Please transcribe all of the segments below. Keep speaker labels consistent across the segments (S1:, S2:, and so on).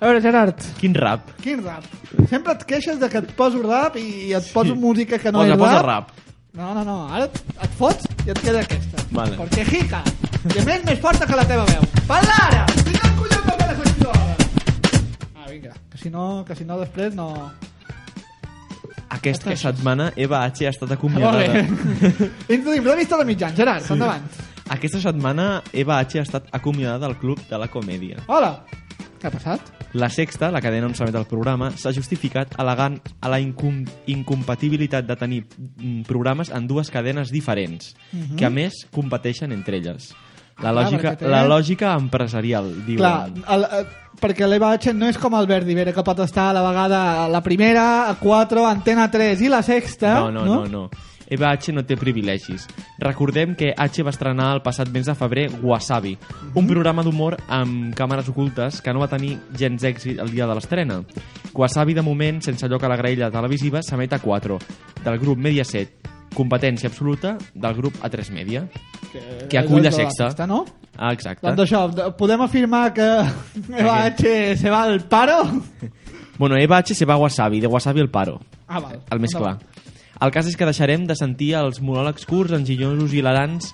S1: A veure, Gerard,
S2: Quin rap.
S1: quin rap? Sempre et queixes de que et poso rap i et poso
S2: Sí.
S1: música que no
S2: posa,
S1: és
S2: posa
S1: rap.
S2: rap.
S1: No, no, no, ara et, et fots i et queda aquesta.
S2: Vale.
S1: Perquè jica, i a més més forta que la teva veu. Parla ara! Fica el colló que me la sento ara! Ah, vinga, que si no, que si no després no...
S2: Aquesta setmana Eva H ha estat
S1: Molt bé.
S2: acomiadada.
S1: Introduïm la vista de mitjans, Gerard, sí. endavant.
S2: Aquesta setmana Eva H ha estat acomiadada del Club de la Comèdia.
S1: Hola! Què ha passat?
S2: La sexta, la cadena on s'emet el programa, s'ha justificat al·legant a la incom incompatibilitat de tenir mm, programes en dues cadenes diferents, que a més competeixen entre elles.
S1: Mhm.
S2: La
S1: Ah, clar,
S2: lògica,
S1: perquè té-
S2: la lògica empresarial, diuen.
S1: Clar, el, el, perquè l'Eva H no és com el Verdi Vera, que pot estar a la vegada a la primera, a 4, Antena 3 i la sexta.
S2: No, no, no, no. Eva H no té privilegis. Recordem que H va estrenar el passat mes de febrer Wasabi, un programa d'humor amb càmeres ocultes que no va tenir gens èxit el dia de l'estrena. Wasabi, de moment, sense lloc a la graella televisiva, s'emet a 4, del grup Mediaset, competència absoluta del grup A3 Media.
S1: Que,
S2: que acull la
S1: és
S2: sexta.
S1: sexta no?
S2: Ah, exacte.
S1: Doncs això, d- podem afirmar que Eva H se va al paro?
S2: Bueno, Eva H se va a Wasabi, de Wasabi al paro.
S1: Ah, val.
S2: El més clar.
S1: Endavant.
S2: El cas és que deixarem de sentir els monòlegs curts, enginyosos i hilarants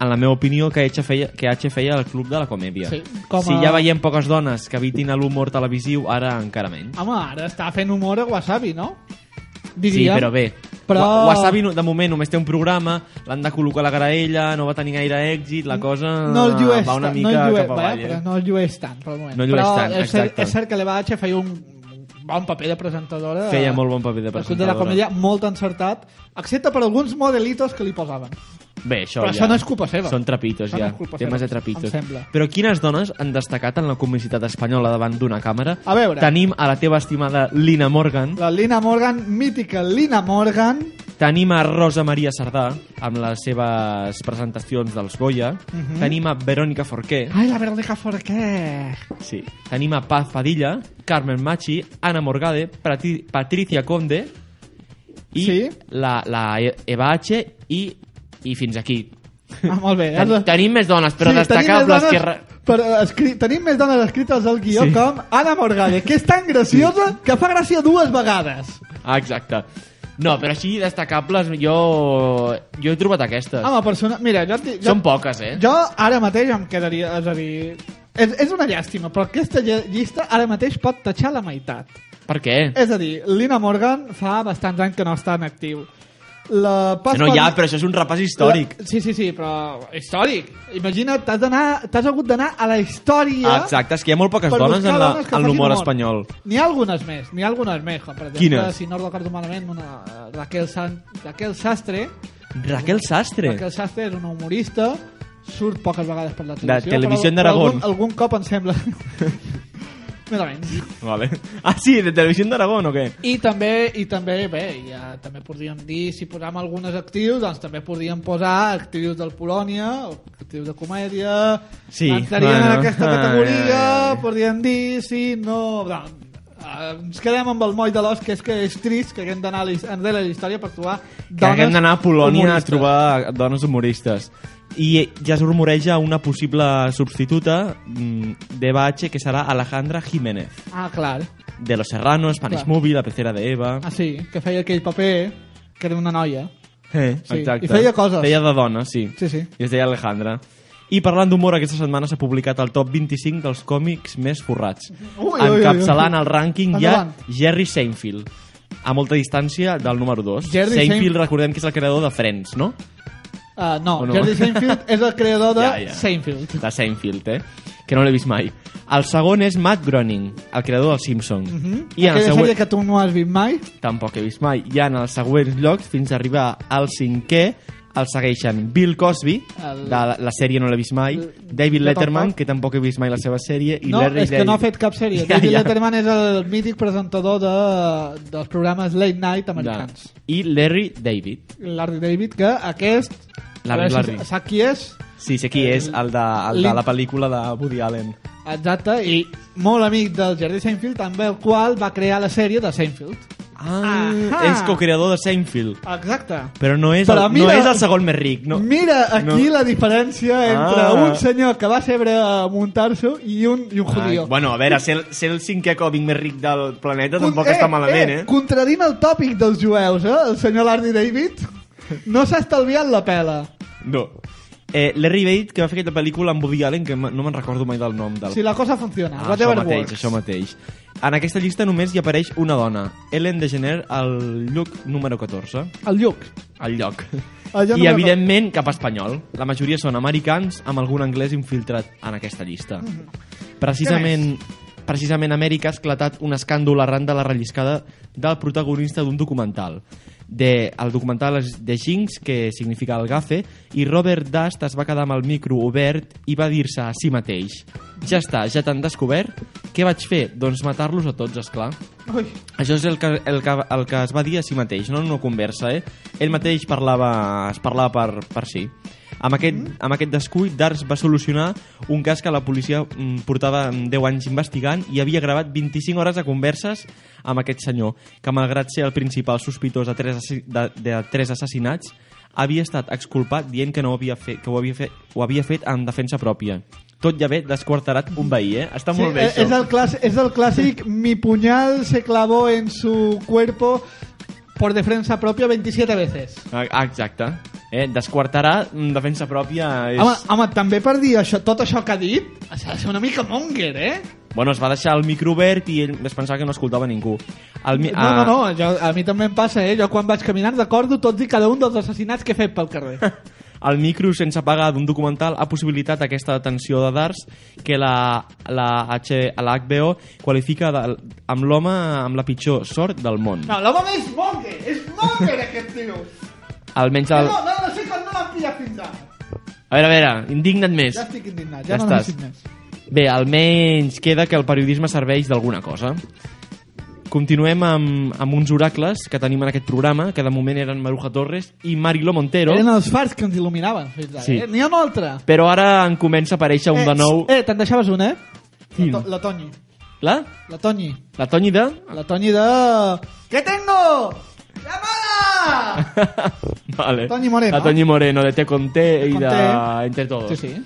S2: en la meva opinió, que H feia, que H feia al Club de la Comèdia.
S1: Sí, com a-
S2: Si ja veiem poques dones que evitin l'humor televisiu, ara encara menys.
S1: Home, ara està fent humor a Wasabi, no?
S2: Sí,
S1: Diríem.
S2: però bé.
S1: Però-
S2: Wa- Wasabi, no- de moment, només té un programa, l'han de col·locar a la graella, no va tenir gaire èxit, la cosa
S1: No el llueix,
S2: Ah, va una
S1: tant,
S2: mica
S1: no el llueix,
S2: cap
S1: va,
S2: avall.
S1: però
S2: eh?
S1: no el llueix tant, per al moment.
S2: No el llueix
S1: però
S2: tant,
S1: és cert,
S2: exacte.
S1: és cert que l'Eva H feia un bon paper de presentadora.
S2: Feia molt bon paper de
S1: Al Club de la
S2: presentadora.
S1: família, molt encertat, excepte per alguns modelitos que li posaven.
S2: Bé, això
S1: Però
S2: ja.
S1: això no és culpa seva.
S2: Són trapitos,
S1: Això no
S2: ja.
S1: és culpa seva,
S2: Temes de trapitos.
S1: Ah, em sembla.
S2: Però quines dones han destacat en la comicitat espanyola davant d'una càmera?
S1: A veure.
S2: Tenim a la teva estimada Lina Morgan,
S1: La Lina Morgan, mítica Lina Morgan,
S2: tenim a Rosa Maria Sardà, amb les seves presentacions dels Goya,
S1: Mhm.
S2: tenim a Verònica Forqué,
S1: Ai, la Verónica Forqué.
S2: sí. tenim a Paz Padilla, Carmen Machi, Ana Morgade, Prati- Patricia Conde, i
S1: Sí.
S2: la, la E- Eva H i, i fins aquí.
S1: Ah, molt bé.
S2: Ten, tenim més dones, però
S1: tenim
S2: destacables
S1: més
S2: que...
S1: dones,
S2: re-
S1: Per, escri... Tenim més dones escrites al guió
S2: Sí.
S1: sí. com Anna Morgade, que és tan graciosa sí. que fa gràcia dues vegades.
S2: Ah, exacte. No, però així destacables, jo, jo he trobat aquestes.
S1: Home, persona... Mira, jo, et dic- jo,
S2: Són poques, eh?
S1: jo ara mateix em quedaria... És a dir... És, és una llàstima, però aquesta lle- llista ara mateix pot tatxar la meitat.
S2: Per què?
S1: És a dir, Lina Morgan fa bastants anys que no està en actiu. La Paz
S2: Que no hi ha,
S1: Padilla-
S2: però això és un repàs històric.
S1: La... Sí, sí, sí, però històric. Imagina't, t'has d'anar- t'has hagut d'anar a la història...
S2: Ah, Exacte, és que hi ha molt poques
S1: per
S2: dones
S1: buscar
S2: en la-
S1: dones que
S2: en
S1: facin
S2: l'humor
S1: humor.
S2: espanyol.
S1: N'hi ha algunes més, n'hi ha algunes més. Com, per exemple,
S2: Quines?
S1: si no recordo malament, una, eh, Raquel, San, Raquel Sastre.
S2: Raquel Sastre.
S1: Raquel Sastre és una humorista, surt poques vegades per la televisió.
S2: Televisión de
S1: però
S2: Aragón.
S1: Algun, algun cop em sembla... més o menys.
S2: Vale. Ah, sí, de Televisió d'Aragón o què?
S1: I també, i també, bé, ja, també podríem dir, si posam algunes actrius, doncs també podríem posar actrius del Polònia, o actrius de comèdia,
S2: Sí,
S1: entrarien
S2: bueno,
S1: en aquesta
S2: ai,
S1: categoria,
S2: ai, ai.
S1: podríem dir, sí, no... no eh, ens quedem amb el moll de l'os, que és que és trist que haguem d'anar a la his- enrere la història per trobar dones
S2: Que haguem d'anar a Polònia
S1: humoristes.
S2: a trobar dones humoristes. I ja es rumoreja una possible substituta mm, d'Eva H, que serà Alejandra Jiménez,
S1: Ah, clar.
S2: de Los Serranos, Spanish
S1: Clar.
S2: Movie, La pecera de Eva...
S1: Ah, sí, que feia aquell paper que era una noia.
S2: Eh,
S1: Sí,
S2: Exacte.
S1: i feia coses.
S2: Feia de dona, sí.
S1: Sí, sí.
S2: I es deia Alejandra. I parlant d'humor, aquesta setmana s'ha publicat el top 25 dels còmics més forrats.
S1: Ui, ui, ui, ui.
S2: encapçalant el rànquing hi ha
S1: Endavant.
S2: Jerry Seinfeld, a molta distància del número 2.
S1: Jerry
S2: Seinfeld,
S1: Seinfeld-
S2: recordem que és el creador de Friends, no?
S1: Uh, no,
S2: O
S1: no,
S2: no?
S1: Jerry Seinfeld és el creador de
S2: Ja, ja.
S1: Seinfeld.
S2: De Seinfeld, eh? Que no l'he vist mai. El segon és Matt Groening, el creador dels Simpsons. I en el
S1: Mm-hmm. Mhm. Aquella
S2: següent...
S1: sèrie que tu no has vist mai.
S2: Tampoc he vist mai. I en els següents llocs, fins a arribar al cinquè, el segueixen Bill Cosby,
S1: El-
S2: de la, la sèrie no l'he vist mai,
S1: El-
S2: David
S1: jo
S2: Letterman,
S1: tampoc.
S2: que tampoc he vist mai la seva sèrie, i
S1: no,
S2: Larry
S1: és que
S2: David.
S1: no ha fet cap sèrie.
S2: Ja,
S1: David
S2: ja.
S1: Letterman és el mític presentador de, dels programes Late Night americans.
S2: Ja. I Larry David.
S1: Larry David, que aquest... a
S2: Larry,
S1: veure si
S2: Larry.
S1: Sap qui és?
S2: Sí, sé qui és, el de, el de
S1: Lin-
S2: la pel·lícula de Woody Allen.
S1: Exacte, i molt amic del Jardí Seinfeld, també el qual va crear la sèrie de Seinfeld.
S2: Ah,
S1: Ahà.
S2: és co-creador de Seinfeld.
S1: Exacte.
S2: Però no és,
S1: Però
S2: el,
S1: mira-
S2: no és el segon més ric. No.
S1: Mira aquí la diferència entre
S2: Ah.
S1: un senyor que va ser a muntar-s'ho i un, i un judío.
S3: Ah, bueno, a veure, ser, el- ser el cinquè còmic més ric del planeta tampoc està malament, eh?
S1: Contradint el tòpic dels jueus, eh? El senyor Larry David no s'ha estalviat la pela.
S2: No. Eh, Larry Bate, que va fer aquesta pel·lícula amb Woody Allen, que m- no me'n recordo mai del nom del...
S1: Si la cosa funciona,
S2: Ah, això
S1: whatever
S2: mateix,
S1: works.
S2: això mateix. En aquesta llista només hi apareix una dona, Ellen DeGener, al lloc número 14.
S1: El Lluc.
S2: Al lloc.
S1: El lloc
S2: I,
S1: número-
S2: evidentment, cap espanyol. La majoria són americans, amb algun anglès infiltrat en aquesta llista. Precisament, precisament a Amèrica ha esclatat un escàndol arran de la relliscada del protagonista d'un documental. De, el documental és de Jinx, que significa el gafe, i Robert Dust es va quedar amb el micro obert i va dir-se a si mateix ja està, ja t'han descobert, què vaig fer? Doncs matar-los a tots, és clar.
S1: Ui,
S2: Això és el que, el, que, el que es va dir a si mateix, no en una conversa, eh? Ell mateix parlava, es parlava per, per si. Amb aquest,
S1: Mm.
S2: amb aquest descuit, Dars va solucionar un cas que la policia mm, portava mm, 10 anys investigant i havia gravat 25 hores de converses amb aquest senyor, que malgrat ser el principal sospitós de tres, assi- de, de tres assassinats, havia estat exculpat dient que no ho havia fet, que ho havia, fet, ho havia fet en defensa pròpia. Tot i haver desquarterat un veí, eh? Està
S1: sí,
S2: molt bé,
S1: és,
S2: això.
S1: el clas, és el clàssic mi puñal se clavó en su cuerpo por defensa propia 27 veces.
S2: Ah, ah, Exacte. Eh, desquartarà mm, defensa pròpia és...
S1: Home, home, també per dir això, tot això que ha dit, s'ha de ser una mica monger, eh?
S2: Bueno, es va deixar el micro obert i ell es pensava que no escoltava ningú. El mi... Ah.
S1: No, no, no, jo, a mi també em passa, eh? Jo quan vaig caminant recordo tots i cada un dels assassinats que he fet pel carrer.
S2: Ah, El micro sense pagar d'un documental ha possibilitat aquesta detenció de Dars que la, la, H, la HBO qualifica de, amb l'home amb la pitjor sort del món.
S1: No, l'home és monger, és monger aquest tio.
S2: Almenys el...
S1: No, no, no sé com no l'han pillat fins ara.
S2: A veure, a veure, indigna't més.
S1: Ja estic indignat,
S2: Ja
S1: ja, no
S2: estàs.
S1: necessit més.
S2: Bé, almenys queda que el periodisme serveix d'alguna cosa. Continuem amb, amb uns oracles que tenim en aquest programa, que de moment eren Maruja Torres i Marilo Montero,
S1: Eren els fars que ens il·luminaven fins ara.
S2: Sí.
S1: Eh? N'hi ha un altre.
S2: però ara en comença a aparèixer un
S1: eh,
S2: de nou.
S1: Eh, te'n deixaves un, eh?
S2: Quin?
S1: La, to la Toni.
S2: La?
S1: La Toni.
S2: La Toni de...
S1: La Toni de... ¿Qué tengo? ¡Llamada!
S2: vale.
S1: Toñi Moreno.
S2: La Toni Moreno, de Te Conté i
S1: Conté.
S2: de Entre Todos.
S1: Sí, sí.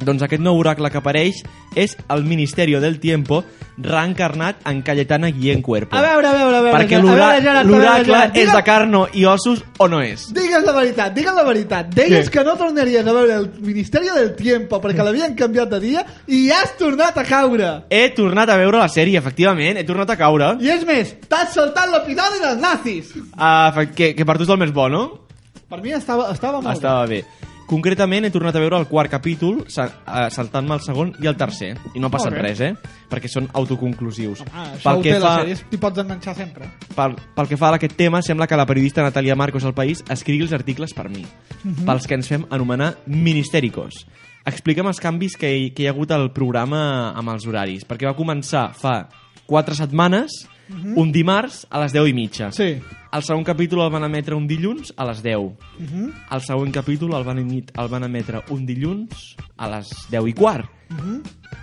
S2: Doncs aquest nou oracle que apareix és el Ministerio del Tiempo reencarnat en Cayetana Guillén Cuerpo.
S1: A veure, a veure, a veure.
S2: Oh. perquè
S1: a
S2: l'ora-
S1: veure, Gerard, a veure,
S2: l'oracle
S1: Gerard,
S2: és
S1: digue'm-
S2: de carno i ossos o no és?
S1: Digues la veritat, digues la veritat. Deies
S2: Què?
S1: que no tornaries a veure el Ministeri del Tiempo perquè l'havien canviat de dia i has tornat a caure.
S2: He tornat a veure la sèrie, efectivament. He tornat a caure.
S1: I és més, t'has saltat l'episodi dels nazis.
S2: Ah, fa- que, que per tu és el més bo, no?
S1: Per mi estava, estava molt
S2: Estava bé. Concretament, he tornat a veure el quart capítol, sa- eh, saltant-me el segon i el tercer. I no ha passat
S1: Molt bé.
S2: res, eh? Perquè són autoconclusius.
S1: bé. Ah, això ho té la sèrie, t'hi pots enganxar sempre.
S2: pel, pel que fa a aquest tema, sembla que la periodista Natalia Marcos al País escrigui els articles per mi,
S1: Mhm.
S2: pels que ens fem anomenar ministèricos. Explica'm els canvis que hi, que hi ha hagut al programa amb els horaris, perquè va començar fa quatre setmanes,
S1: Mhm.
S2: un dimarts a les 10 i mitja.
S1: Sí.
S2: El segon capítol el van emetre un dilluns a les 10.
S1: Mhm.
S2: El següent capítol el van, emit, el van emetre un dilluns a les 10 i quart. I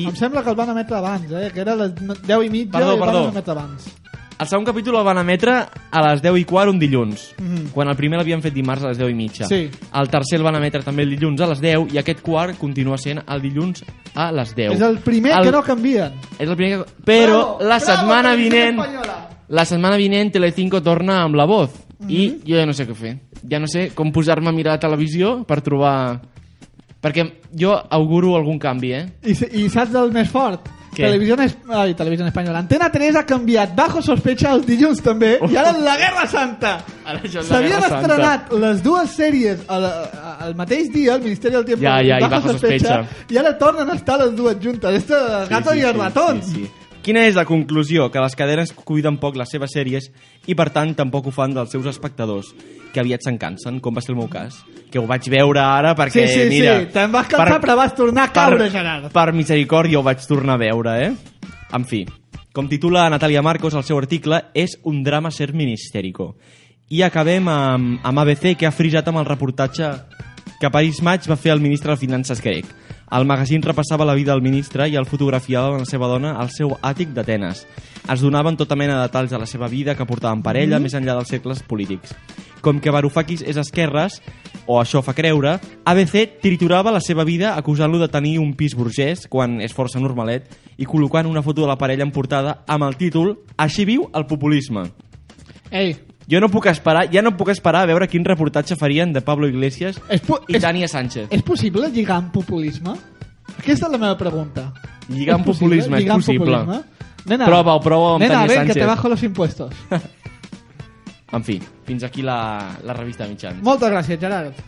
S1: Mhm. Em sembla que el van emetre abans, eh? Que era les 10 i mitja
S2: Perdó,
S1: i el
S2: perdó.
S1: van emetre abans.
S2: El segon capítol el van emetre a les 10 i quart un dilluns,
S1: Mhm.
S2: quan el primer l'havien fet dimarts a les 10 i mitja.
S1: Sí.
S2: El tercer el van emetre també el dilluns a les 10 i aquest quart continua sent el dilluns a les 10.
S1: És el primer que no canvien.
S2: És el primer que... Però la setmana vinent...
S1: Espanyola.
S2: La setmana vinent Telecinco torna amb La Voz
S1: Mhm.
S2: i jo ja no sé què fer. Ja no sé com posar-me a mirar la televisió per trobar... Perquè jo auguro algun canvi, eh?
S1: I, s- i saps del més fort?
S2: Què?
S1: Televisió, es... Ai, Televisió Espanyola. Antena 3 ha canviat Bajo Sospecha els dilluns també i ara en la Guerra Santa.
S2: Ara això és la
S1: S'havien
S2: Guerra Santa.
S1: estrenat les dues sèries al, a- al mateix dia, el Ministeri del Tiempo
S2: Ja,
S1: i
S2: ja, i Bajo Sospecha.
S1: i ara tornen a estar les dues juntes. Esto de gato i el ratón.
S2: Sí, sí. Quina és la conclusió? Que les cadenes cuiden poc les seves sèries i, per tant, tampoc ho fan dels seus espectadors, que aviat se'n cansen, com va ser el meu cas. Que ho vaig veure ara perquè,
S1: Sí, sí, sí.
S2: mira...
S1: Te'n vas cansar, però vas tornar a caure, Gerard.
S2: Per misericòrdia ho vaig tornar a veure, eh? En fi, com titula Natàlia Marcos el seu article, és un drama ser ministèrico. I acabem amb, amb ABC, que ha frisat amb el reportatge que París Maig va fer el ministre de Finances grec. El magazín repassava la vida del ministre i el fotografiava amb la seva dona al seu àtic d'Atenes. Es donaven tota mena de detalls de la seva vida que portaven parella mm. més enllà dels cercles polítics. Com que Varoufakis és esquerres, o això fa creure, ABC triturava la seva vida acusant-lo de tenir un pis burgès, quan és força normalet, i col·locant una foto de la parella en portada amb el títol «Així viu el populisme».
S1: Ei,
S2: Jo no puc esperar, ja no puc esperar a veure quin reportatge farien de Pablo Iglesias
S1: És po-
S2: i
S1: és-
S2: Tania Sánchez.
S1: és possible lligar amb populisme? Aquesta és la meva pregunta.
S2: Lligar amb
S1: És possible
S2: populisme, és
S1: lligar amb
S2: possible.
S1: populisme? Nena,
S2: Prova-ho, prova-ho amb
S1: nena,
S2: Tania
S1: ven,
S2: Sánchez.
S1: que te bajo los impuestos.
S2: En fi, fins aquí la, la revista de mitjans.
S1: Moltes gràcies, Gerard.